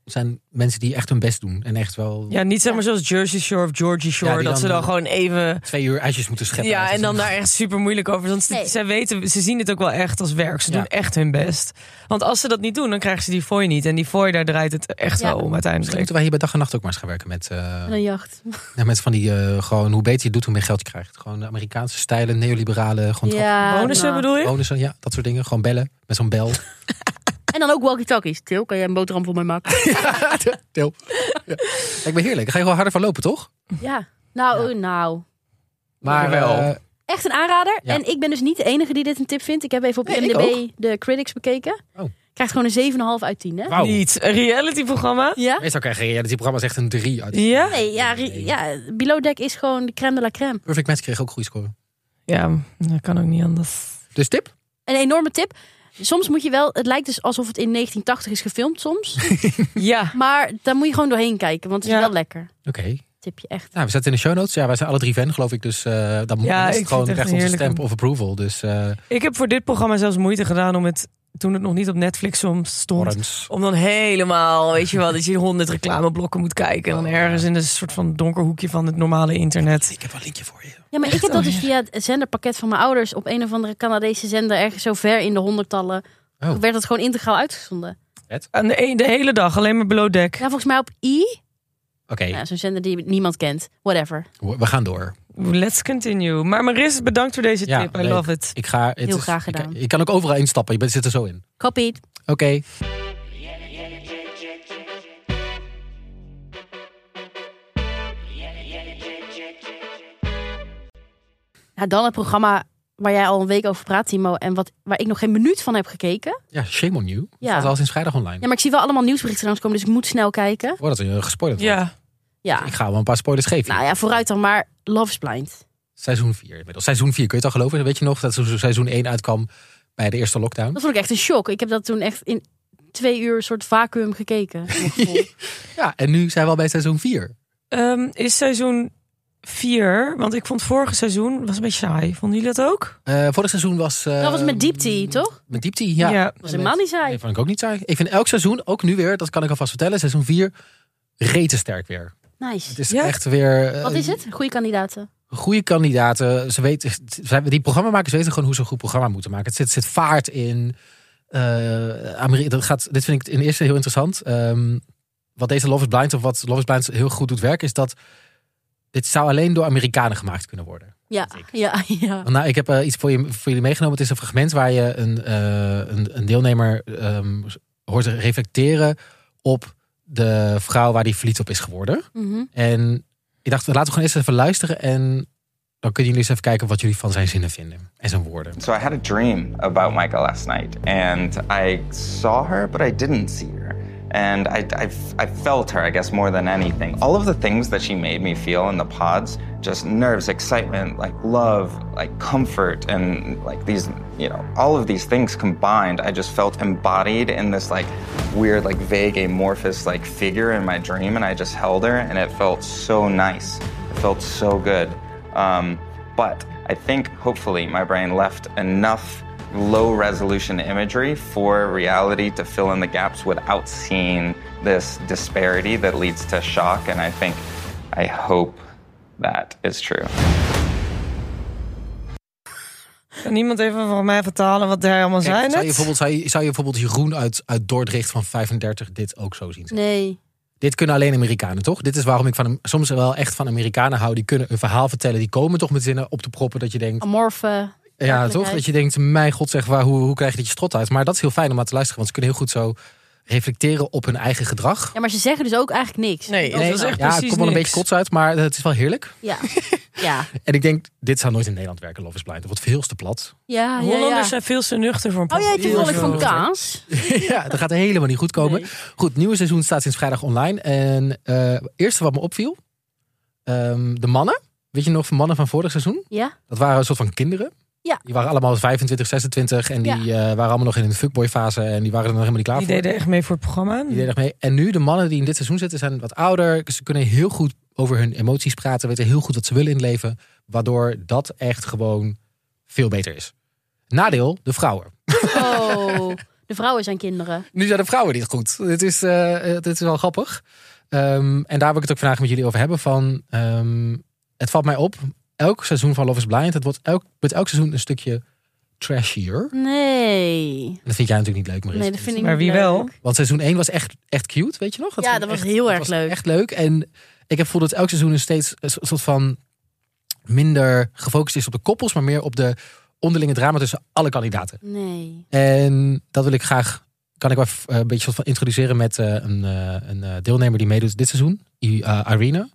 C: zijn mensen die echt hun best doen. En echt wel
B: Ja, niet zeg maar zoals Jersey Shore of Georgie Shore.
C: Ja, die
B: dat ze
C: dan-
B: dan gewoon even...
C: twee uur ijsjes moeten scheppen.
B: Ja,
C: uit de
B: en dan
C: zon.
B: daar echt super moeilijk over. Want ze-
A: Nee.
B: zij weten, ze zien het ook wel echt als werk. Ze
C: Ja.
B: doen echt hun best. Want als ze dat niet doen, dan krijgen ze die fooi niet. En die fooi, daar draait het echt
A: Ja.
B: wel om
C: Misschien
B: uiteindelijk.
C: moeten wij hier bij dag en nacht ook maar eens gaan werken met, eh,
A: En een jacht.
C: nou, met van die eh, gewoon hoe beter je het doet, hoe meer geld je krijgt. Gewoon de Amerikaanse stijlen, neoliberale, gewoon ja.
A: Ja,
B: Ah, Bonussen
A: nou.
B: bedoel je?
C: bonussen, ja, dat soort dingen. Gewoon bellen met zo'n bel.
A: En dan ook walkie-talkies. Til, kan jij een boterham voor mij maken?
C: Deel. Ja. Ik ben heerlijk. Dan ga je gewoon harder van lopen, toch?
A: ja. Nou, eh, nou.
C: Maar
B: Wel.
C: eh,
A: Echt een aanrader.
C: Ja.
A: En ik ben dus niet de enige die dit een tip vindt. Ik heb even op
C: Nee, ik
A: IMDb de critics bekeken.
C: Oh.
A: Krijgt gewoon een 7,5 uit 10, hè?
C: wauw.
B: Niet. Een realityprogramma?
A: Ja?
C: Meestal krijgen realityprogramma's echt een 3 uit.
B: Ja?
A: Nee, ja, ri- ja, Below Deck is gewoon de crème de la crème.
C: Perfect Match kreeg ook goede score.
B: Ja, dat kan ook niet anders.
C: Dus tip?
A: Een enorme tip. Soms moet je wel... Het lijkt dus alsof het in 1980 is gefilmd soms.
B: Ja.
A: maar daar moet je gewoon doorheen kijken. Want het is
B: Ja.
A: wel lekker.
C: Oké.
A: Tipje echt.
C: Nou, we zetten in de show notes. Ja, wij zijn alle drie fan, geloof ik. Dus eh dan moet
B: Ja, ik
C: dan is het
B: vind
C: gewoon
B: het echt
C: recht onze
B: heerlijk
C: stamp
B: om-
C: of approval. Dus eh
B: Ik heb voor dit programma zelfs moeite gedaan om het, toen het nog niet op Netflix soms stond,
C: Orms.
B: om dan helemaal, weet je wel, dat je honderd reclameblokken moet kijken en dan ergens in een soort van donker hoekje van het normale internet.
C: Ik heb wel een linkje voor je.
A: Ja, maar ik heb dat dus via het zenderpakket van mijn ouders... op een of andere Canadese zender ergens zo ver in de honderdtallen...
C: Oh.
A: werd dat gewoon integraal uitgezonden.
B: En de, e- de hele dag, alleen maar below deck.
A: Ja, volgens mij op I.
C: Oké,
A: Nou, zo'n zender die niemand kent. Whatever.
C: we gaan door.
B: Let's continue. Maar Maris, bedankt voor deze
C: Ja,
B: tip. I
C: leuk.
B: love it.
C: Ik ga, het
A: Heel
C: is-
A: graag
C: ik-
A: gedaan.
C: Je kan ook overal instappen. Je bent, zit er zo in.
A: Copied.
C: Oké.
A: Ja, Nou, dan het programma waar jij al een week over praat, Timo. En wat, waar ik nog geen minuut van heb gekeken.
C: Ja, shame on you. Het
A: Ja.
C: staat al sinds vrijdag online.
A: Ja, maar ik zie wel allemaal nieuwsberichten langskomen, dus ik moet snel kijken.
C: Voordat je gespoilerd wordt.
B: Ja,
A: Ja,
C: Ik ga wel een paar spoilers geven.
A: nou ja, vooruit dan maar. Love is Blind.
C: Seizoen 4 inmiddels. Seizoen 4, kun je het al geloven? Weet je nog dat seizoen 1 uitkwam bij de eerste lockdown?
A: Dat vond ik echt een shock. Ik heb dat toen echt in twee uur een soort vacuüm gekeken. voor mijn gevoel.
C: Ja, en nu zijn we al bij seizoen 4.
B: Ehm, is seizoen 4, want ik vond vorige seizoen was een beetje saai. Vonden jullie dat ook?
C: Eh vorig seizoen was... eh,
A: dat was met Deep Tea, toch?
C: Met Diepte, ja.
A: Dat was helemaal niet saai.
C: Nee, vond ik ook niet saai. Ik vind elk seizoen, ook nu weer, dat kan ik alvast vertellen, seizoen 4 reten sterk weer. Het
A: Nice.
C: is
B: Ja?
C: echt weer... eh,
A: Wat is het? Goede kandidaten.
C: goede kandidaten. Ze weten, ze- die programmamakers weten gewoon hoe ze een goed programma moeten maken. Het zit, zit vaart in. eh Ameri- dat gaat, dit vind ik in eerste heel interessant. Ehm, wat deze Love is Blind of wat Love is Blind heel goed doet werken... is dat dit zou alleen door Amerikanen gemaakt kunnen worden.
A: Ja, ja, ja.
C: Nou, ik heb eh, iets voor, je, voor jullie meegenomen. Het is een fragment waar je een, eh, een, een deelnemer ehm, hoort reflecteren... op de vrouw waar die verliefd op is geworden.
A: Mhm.
C: En ik dacht, laten we gewoon eerst even luisteren. En dan kunnen jullie eens even kijken wat jullie van zijn zinnen vinden. En zijn woorden.
E: So I had a dream about Micah last night, and I saw her, but I didn't see her. And I, I, I felt her, I guess, more than anything. All of the things that she made me feel in the pods just nerves, excitement, like love, like comfort, and like these, you know, all of these things combined, I just felt embodied in this like weird, like vague, amorphous, like figure in my dream. And I just held her, and it felt so nice. It felt so good. Um, but I think hopefully my brain left enough low resolution imagery for reality to fill in the gaps without seeing this disparity that leads to shock. And I think, I hope that is true.
B: Kan iemand even voor mij vertalen wat daar allemaal
C: Kijk,
B: zijn?
C: zou, je bijvoorbeeld, zou, je, zou je bijvoorbeeld Jeroen uit, uit Dordrecht van 35 dit ook zo zien? zeggen?
A: Nee.
C: Dit kunnen alleen Amerikanen, toch? Dit is waarom ik van, hem- soms wel echt van Amerikanen hou. Die kunnen een verhaal vertellen. Die komen toch met zinnen op te proppen dat je denkt...
A: Amorfe.
C: Ja, toch? Dat je denkt, mijn god zeg, waar, hoe, hoe krijg je dit je strot uit? Maar dat is heel fijn om aan te luisteren. Want ze kunnen heel goed zo reflecteren op hun eigen gedrag.
A: Ja, maar ze zeggen dus ook eigenlijk niks.
B: Nee,
A: Dat is
B: nee, dat is
A: wel-
B: echt-
C: Ja, het
B: precies
C: komt wel een
B: niks.
C: beetje kots uit, maar het is wel heerlijk.
A: Ja. Ja.
C: En ik denk, dit zou nooit in Nederland werken, Love is Blind. Dat wordt veel te plat.
A: Ja, ja, ja.
B: Ah, Hollanders zijn veel te nuchter voor een
A: Oh,
B: programma.
A: jij
C: Heel
A: volk van
C: veel.
A: kaas?
C: ja, dat gaat helemaal niet goed komen.
A: Nee.
C: Goed, het nieuwe seizoen staat sinds vrijdag online. En eh, het eerste wat me opviel, ehm, de mannen. Weet je nog van mannen van vorig seizoen?
A: Ja.
C: Dat waren een soort van kinderen.
A: Ja.
C: Die waren allemaal 25, 26 en die
A: Ja.
C: eh, waren allemaal nog in een fuckboy fase. En die waren er nog helemaal niet klaar
B: Die
C: voor.
B: deden echt mee voor het programma.
C: Die deden echt mee. En nu, de mannen die in dit seizoen zitten, zijn wat ouder. Dus Ze kunnen heel goed over hun emoties praten. Weten heel goed wat ze willen in het leven. Waardoor dat echt gewoon veel beter is. Nadeel, de vrouwen.
A: Oh. De vrouwen zijn kinderen.
C: Nu zijn de vrouwen dit goed. Dit is, eh, eh, dit is wel grappig. Ehm, en daar wil ik het ook vandaag met jullie over hebben. Van, ehm, het valt mij op. Elk seizoen van Love is Blind. Het wordt elk, met elk seizoen een stukje trashier. En
A: Nee.
C: dat vind jij natuurlijk niet leuk, Maris.
A: Nee, dat vind ik
B: Maar
A: niet
B: wie
A: leuk.
B: wel?
C: Want seizoen 1 was echt, echt cute, weet je
A: Ja,
C: nog? vond
A: dat
C: ik
A: was
C: echt-
A: heel
C: dat
A: erg
C: was
A: leuk.
C: Echt leuk. En ik heb het gevoel dat elk seizoen een steeds een so- soort van minder gefocust is op de koppels, maar meer op de onderlinge drama tussen alle kandidaten.
A: Nee.
C: En dat wil ik graag, kan ik wel even, eh, een beetje soort van introduceren met eh, een, eh, een eh, deelnemer die meedoet dit seizoen, I- eh, Irina.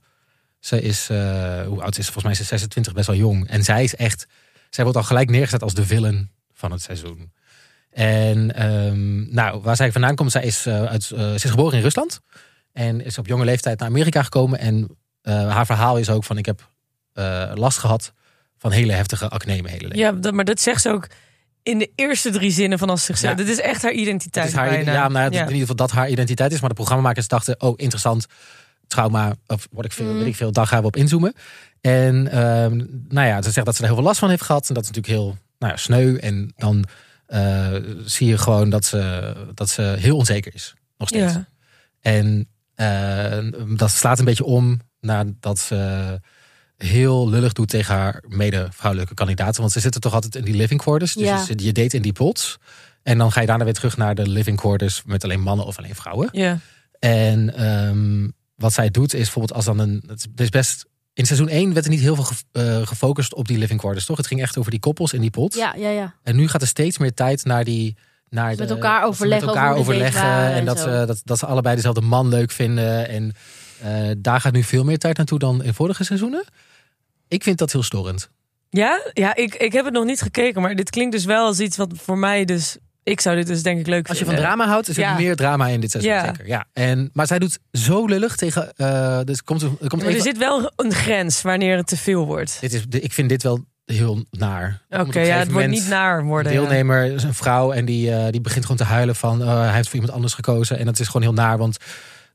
C: Ze is, eh, hoe oud is ze? Volgens mij is ze 26, best wel jong. En zij is echt, zij wordt al gelijk neergezet als de villain van het seizoen. En ehm, nou, waar zij vandaan komt, zij is, eh, uit, eh, ze is geboren in Rusland. En is op jonge leeftijd naar Amerika gekomen. En eh, haar verhaal is ook van, ik heb eh, last gehad van hele heftige acne mijn hele leven.
B: Ja, dat, maar dat zegt ze ook in de eerste drie zinnen van als zichzelf.
C: Ja.
B: Dit is echt haar
C: Het
B: identiteit.
C: is haar,
B: bijna.
C: ja, nou, het is
B: Ja.
C: in ieder geval dat haar identiteit is. Maar de programmamakers dachten, oh, interessant. Trauma, of word ik veel,
B: Mhm.
A: Mm.
C: weet ik veel, daar gaan we op inzoomen. En ehm, nou ja, ze zegt dat ze er heel veel last van heeft gehad. En dat is natuurlijk heel nou ja, sneu. En dan eh, zie je gewoon dat ze, dat ze heel onzeker is. Nog steeds.
B: Ja.
C: En eh, dat slaat een beetje om nadat ze heel lullig doet tegen haar mede-vrouwelijke kandidaten. Want ze zitten toch altijd in die living quarters. Dus
A: Ja.
C: je, zit- je date in die pots. En dan ga je daarna weer terug naar de living quarters met alleen mannen of alleen vrouwen.
B: Ja.
C: En ehm, wat zij doet is bijvoorbeeld als dan een... Het is best, in seizoen 1 werd er niet heel veel ge- eh, gefocust op die living quarters, toch? Het ging echt over die koppels in die pot.
A: Ja, ja, ja.
C: En nu gaat er steeds meer tijd naar die. Naar
A: Dus met
C: de-
A: elkaar
C: dat ze
A: overleggen
C: Met elkaar
A: over hoe de dates
C: overleggen.
A: waren
C: En,
A: en
C: dat,
A: zo.
C: ze, dat, dat ze allebei dezelfde man leuk vinden. En eh, daar gaat nu veel meer tijd naartoe dan in vorige seizoenen. Ik vind dat heel storend.
B: Ja, ja ik, ik heb het nog niet gekeken, maar dit klinkt dus wel als iets wat voor mij dus... Ik zou dit dus denk ik leuk
C: Als je van
B: vinden.
C: drama houdt, is er
B: Ja.
C: meer drama in dit seizoen.
B: Ja.
C: Zeker. Ja. En, maar zij doet zo lullig tegen. eh, dus komt, er komt
B: Ja, maar
C: even-
B: er zit wel een grens wanneer het te veel wordt.
C: dit is, ik vind dit wel heel naar.
B: Oké,
C: Omdat op
B: ja,
C: een gegeven
B: het wordt
C: moment-
B: niet naar worden.
C: Een deelnemer is een vrouw en die, eh, die begint gewoon te huilen van eh, hij heeft voor iemand anders gekozen. En dat is gewoon heel naar, want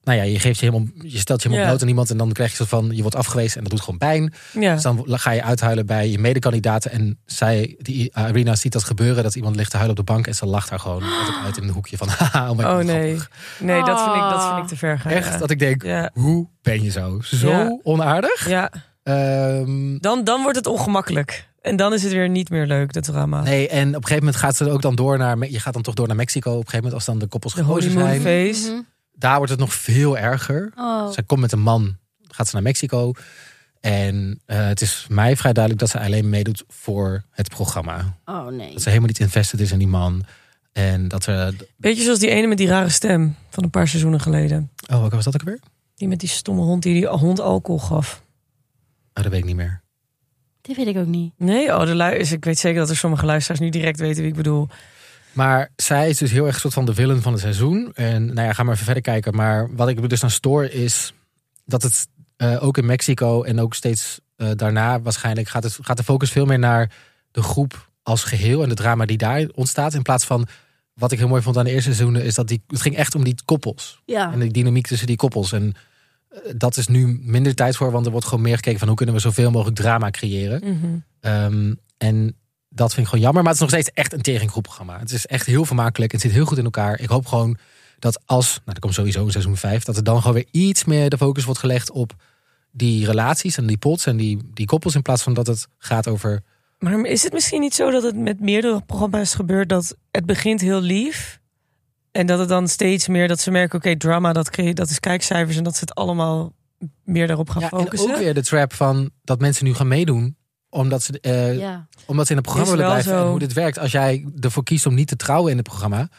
C: nou ja, je, geeft je, helemaal, je stelt je helemaal
B: Ja.
C: bloot aan iemand en dan krijg je zo van je wordt afgewezen en dat doet gewoon pijn.
B: Ja. Ja.
C: Dus dan ga je uithuilen bij je medekandidaten en zij, die eh, Irina ziet dat gebeuren, dat iemand ligt te huilen op de bank en ze lacht daar gewoon altijd uit in een hoekje van haha, oh my
B: Oh
C: god,
B: nee.
C: grappig.
B: Nee, dat vind, ik, dat vind
A: Ah.
B: ik te ver gaan.
C: Echt,
B: ja.
C: dat ik denk,
B: Ja.
C: hoe ben je zo? Zo
B: Ja.
C: onaardig?
B: Ja,
C: Ehm,
B: dan, dan wordt het ongemakkelijk. En dan is het weer niet meer leuk, dat drama.
C: nee, en op een gegeven moment gaat ze ook dan door naar, je gaat dan toch door naar Mexico op een gegeven moment als dan de koppels
B: De honeymoon
C: gekozen zijn.
B: face.
A: Mhm.
C: daar wordt het nog veel erger.
A: Oh.
C: Zij komt met een man, gaat ze naar Mexico. En eh, het is mij vrij duidelijk dat ze alleen meedoet voor het programma.
A: oh, nee.
C: Dat ze helemaal niet invested is in die man. En dat ze...
B: Beetje zoals die ene met die rare stem van een paar seizoenen geleden.
C: Oh, welke was dat ook weer?
B: Die met die stomme hond die die hond alcohol gaf.
C: Oh, dat weet ik niet meer.
A: Dit weet ik ook niet.
B: Nee, oh, de lui is, ik weet zeker dat er sommige luisteraars nu direct weten wie ik bedoel.
C: Maar zij is dus heel erg een soort van de villain van het seizoen. En nou ja, ga maar even verder kijken. Maar wat ik me dus aan stoor is dat het eh, ook in Mexico en ook steeds eh, daarna waarschijnlijk gaat, het, gaat de focus veel meer naar de groep als geheel en de drama die daar ontstaat. In plaats van wat ik heel mooi vond aan de eerste seizoenen is dat die, het ging echt om die koppels
A: Ja.
C: en de dynamiek tussen die koppels. En eh, dat is nu minder tijd voor, want er wordt gewoon meer gekeken van hoe kunnen we zoveel mogelijk drama creëren. Ehm, en dat vind ik gewoon jammer. Maar het is nog steeds echt een tegengroepprogramma. Het is echt heel vermakelijk. Het zit heel goed in elkaar. Ik hoop gewoon dat als, nou er komt sowieso een seizoen 5, dat er dan gewoon weer iets meer de focus wordt gelegd op die relaties en die pots en die, die koppels. In plaats van dat het gaat over.
B: Maar is het misschien niet zo dat het met meerdere programma's gebeurt dat het begint heel lief en dat het dan steeds meer dat ze merken, oké, drama dat, creë- dat is kijkcijfers en dat ze het allemaal meer daarop gaan
C: Ja, en
B: focussen.
C: ook weer de trap van dat mensen nu gaan meedoen omdat ze, eh,
A: Ja.
C: omdat ze in het programma
B: Is
C: willen
B: wel
C: blijven.
B: zo.
C: En hoe dit werkt. Als jij ervoor kiest om niet te trouwen in het programma,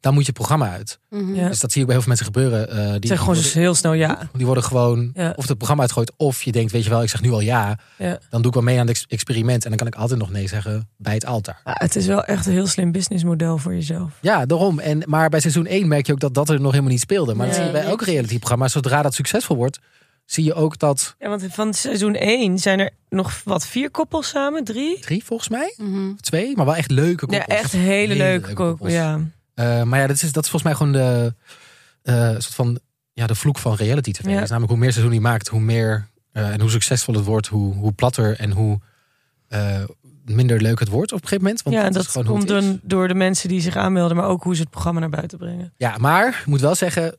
C: dan moet je het programma uit.
A: Mhm.
B: Ja.
C: Dus dat zie ik bij heel veel mensen gebeuren. eh, die,
B: Het zijn gewoon
C: die
B: dus heel snel ja.
C: Die worden gewoon
B: Ja.
C: of het programma uitgooit, of je denkt, weet je wel, ik zeg nu al ja,
B: ja.
C: dan doe ik wel mee aan het ex- experiment en dan kan ik altijd nog nee zeggen bij het altaar.
B: Ah, het is wel echt een heel slim businessmodel voor jezelf.
C: Ja, daarom. En, maar bij seizoen 1 merk je ook dat dat er nog helemaal niet speelde. Maar dat
A: Nee,
C: zie je bij
A: nee.
C: elk realityprogramma. Zodra dat succesvol wordt, zie je ook dat
B: Ja, want van seizoen 1 zijn er nog wat vier koppels samen, drie.
C: drie volgens mij,
A: Mhm.
C: of twee, maar wel echt leuke
B: Ja,
C: koppels.
B: echt hele, leuke koppels. Ja.
C: Eh, maar ja, dat is, dat is volgens mij gewoon de, eh, soort van, ja, de vloek van reality tv.
B: Ja.
C: Dat is namelijk hoe meer seizoen je maakt, hoe meer eh, en hoe succesvol het wordt, hoe, hoe platter en hoe eh, minder leuk het wordt op een gegeven moment. Want
B: ja, en
C: dat,
B: dat
C: is gewoon
B: komt
C: hoe het is.
B: dan door de mensen die zich aanmelden, maar ook hoe ze het programma naar buiten brengen.
C: Ja, maar ik moet wel zeggen,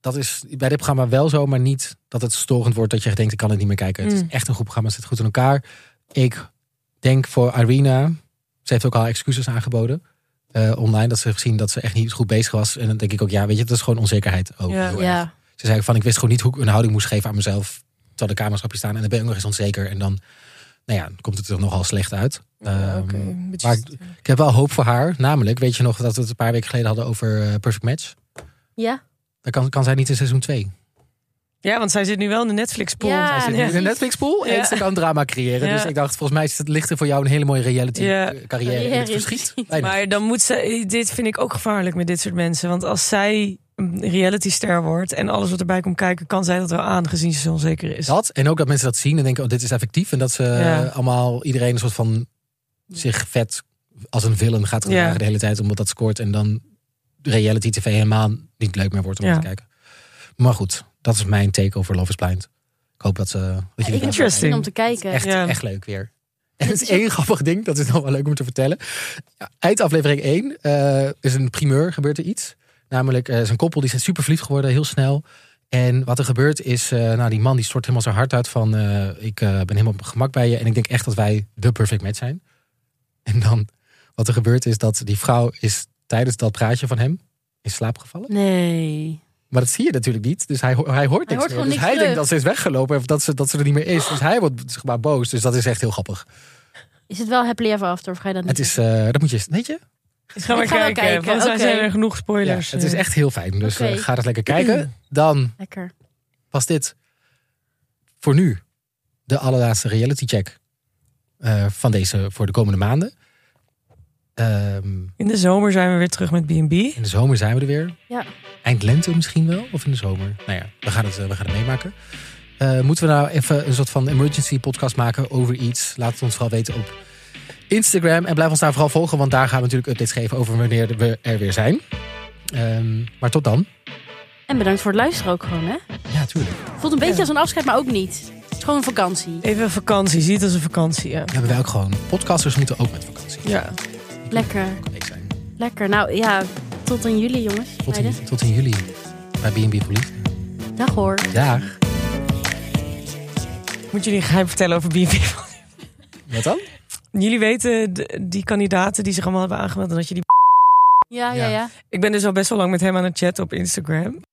C: dat is bij dit programma wel zo, maar niet dat het storend wordt dat je denkt, ik kan het niet meer kijken. Het
B: Mm.
C: is echt een goed programma, het zit goed in elkaar. Ik denk voor Irina, ze heeft ook al excuses aangeboden eh, online, dat ze heeft gezien dat ze echt niet goed bezig was. En dan denk ik ook, ja, weet je, dat is gewoon onzekerheid ook.
B: Ja.
C: heel erg.
A: Ja.
C: Ze zei ook van, ik wist gewoon niet hoe ik een houding moest geven aan mezelf, terwijl de camera's op je staan en dan ben ik ook nog eens onzeker. En dan, nou ja, dan komt het er nogal slecht uit.
B: Ja,
C: Ehm,
B: oké, een beetje
C: maar-
B: st-
C: Ik heb wel hoop voor haar, namelijk, weet je nog dat we het een paar weken geleden hadden over eh, Perfect Match?
A: Ja.
C: Dan kan, kan zij niet in seizoen 2.
B: ja, want zij zit nu wel in de Netflix-pool.
A: Ja,
B: Zij
C: Ze
B: zit
C: zit
B: nu-
C: nu in de Netflix-pool
B: Ja.
C: en ze kan drama creëren.
B: Ja.
C: Dus ik dacht, volgens mij is het, ligt er voor jou een hele mooie
B: Ja.
C: reality-carrière in
A: Carrière
C: het
A: in
C: verschiet.
A: het
C: Weinig.
B: Maar dan moet ze. Dit vind ik ook gevaarlijk met dit soort mensen. Want als zij een realityster wordt en alles wat erbij komt kijken, kan zij dat wel aan, gezien ze zo onzeker is.
C: dat, en ook dat mensen dat zien en denken, oh, dit is effectief. En dat ze eh,
B: Ja.
C: allemaal, iedereen een soort van zich vet als een villain gaat gedragen
B: Ja.
C: de hele tijd. Omdat dat scoort en dan reality tv helemaal niet leuk meer wordt om
B: Ja.
C: te kijken. Maar goed, dat is mijn take over Love is Blind. Ik hoop dat ze... Dat jullie
A: Ik
C: daar-
A: heb er
B: Interesting.
A: zin om te kijken.
C: Echt,
B: Ja.
C: echt leuk weer. En het is één grappig ding, dat is nog wel leuk om te vertellen. Ja, Eind aflevering 1 eh, is een primeur, gebeurt er iets. Namelijk, eh, is een koppel die zijn super verliefd geworden, heel snel. En wat er gebeurt is, eh, nou die man die stort helemaal zijn hart uit van... eh, ik eh, ben helemaal op mijn gemak bij je en ik denk echt dat wij de perfect match zijn. En dan, wat er gebeurt is dat die vrouw is tijdens dat praatje van hem in slaap gevallen.
A: Nee.
C: Maar dat zie je natuurlijk niet. Dus hij, ho- hij hoort
A: hoort
C: niks meer.
A: gewoon
C: Dus
A: niks
C: hij
A: terug.
C: denkt dat ze is weggelopen of dat ze, dat ze er niet meer is. Dus hij wordt zeg maar boos. Dus dat is echt heel grappig.
A: Is het wel happily ever after of ga je dat niet?
C: Het is, eh, dat moet je, weet je?
B: Ik ga maar
A: Ik ga wel
B: kijken.
A: kijken,
B: Want
A: oké.
B: zijn er genoeg
C: Ja,
B: spoilers.
C: het is echt heel fijn. Dus eh,
A: Oké.
C: ga dat lekker kijken. Dan
A: Lekker.
C: was dit voor nu de allerlaatste reality check eh, van deze voor de komende maanden. Ehm,
B: In de zomer zijn we weer terug met B&B.
C: in de zomer zijn we er weer.
A: Ja.
C: Eind lente misschien wel, of in de zomer. Nou ja, we gaan het, eh, we gaan het meemaken. Eh, moeten we nou even een soort van emergency podcast maken over iets? Laat het ons vooral weten op Instagram. En blijf ons daar vooral volgen, want daar gaan we natuurlijk updates geven over wanneer we er weer zijn. Ehm, maar tot dan.
A: En bedankt voor het luisteren ook gewoon, hè?
C: Ja, tuurlijk.
A: Voelt een beetje als een afscheid, maar ook niet. Het is gewoon een vakantie.
B: Even vakantie. Ziet als een vakantie. Ja.
C: Hebben wij ook gewoon. Podcasters moeten ook met vakantie.
B: ja.
A: Lekker.
C: Elke week zijn.
A: Lekker. Nou ja, tot in juli, jongens.
C: Tot
A: Meiden.
C: in, tot in juli bij B&B Police.
A: Dag hoor.
C: Dag.
B: Ik Moet jullie een geheim vertellen over B&B?
C: Wat dan?
B: Jullie weten de- die kandidaten die zich allemaal hebben aangemeld en dat je die...
A: Ja, ja,
C: Ja.
A: ja.
B: Ik ben dus al best wel lang met hem aan het chatten op Instagram.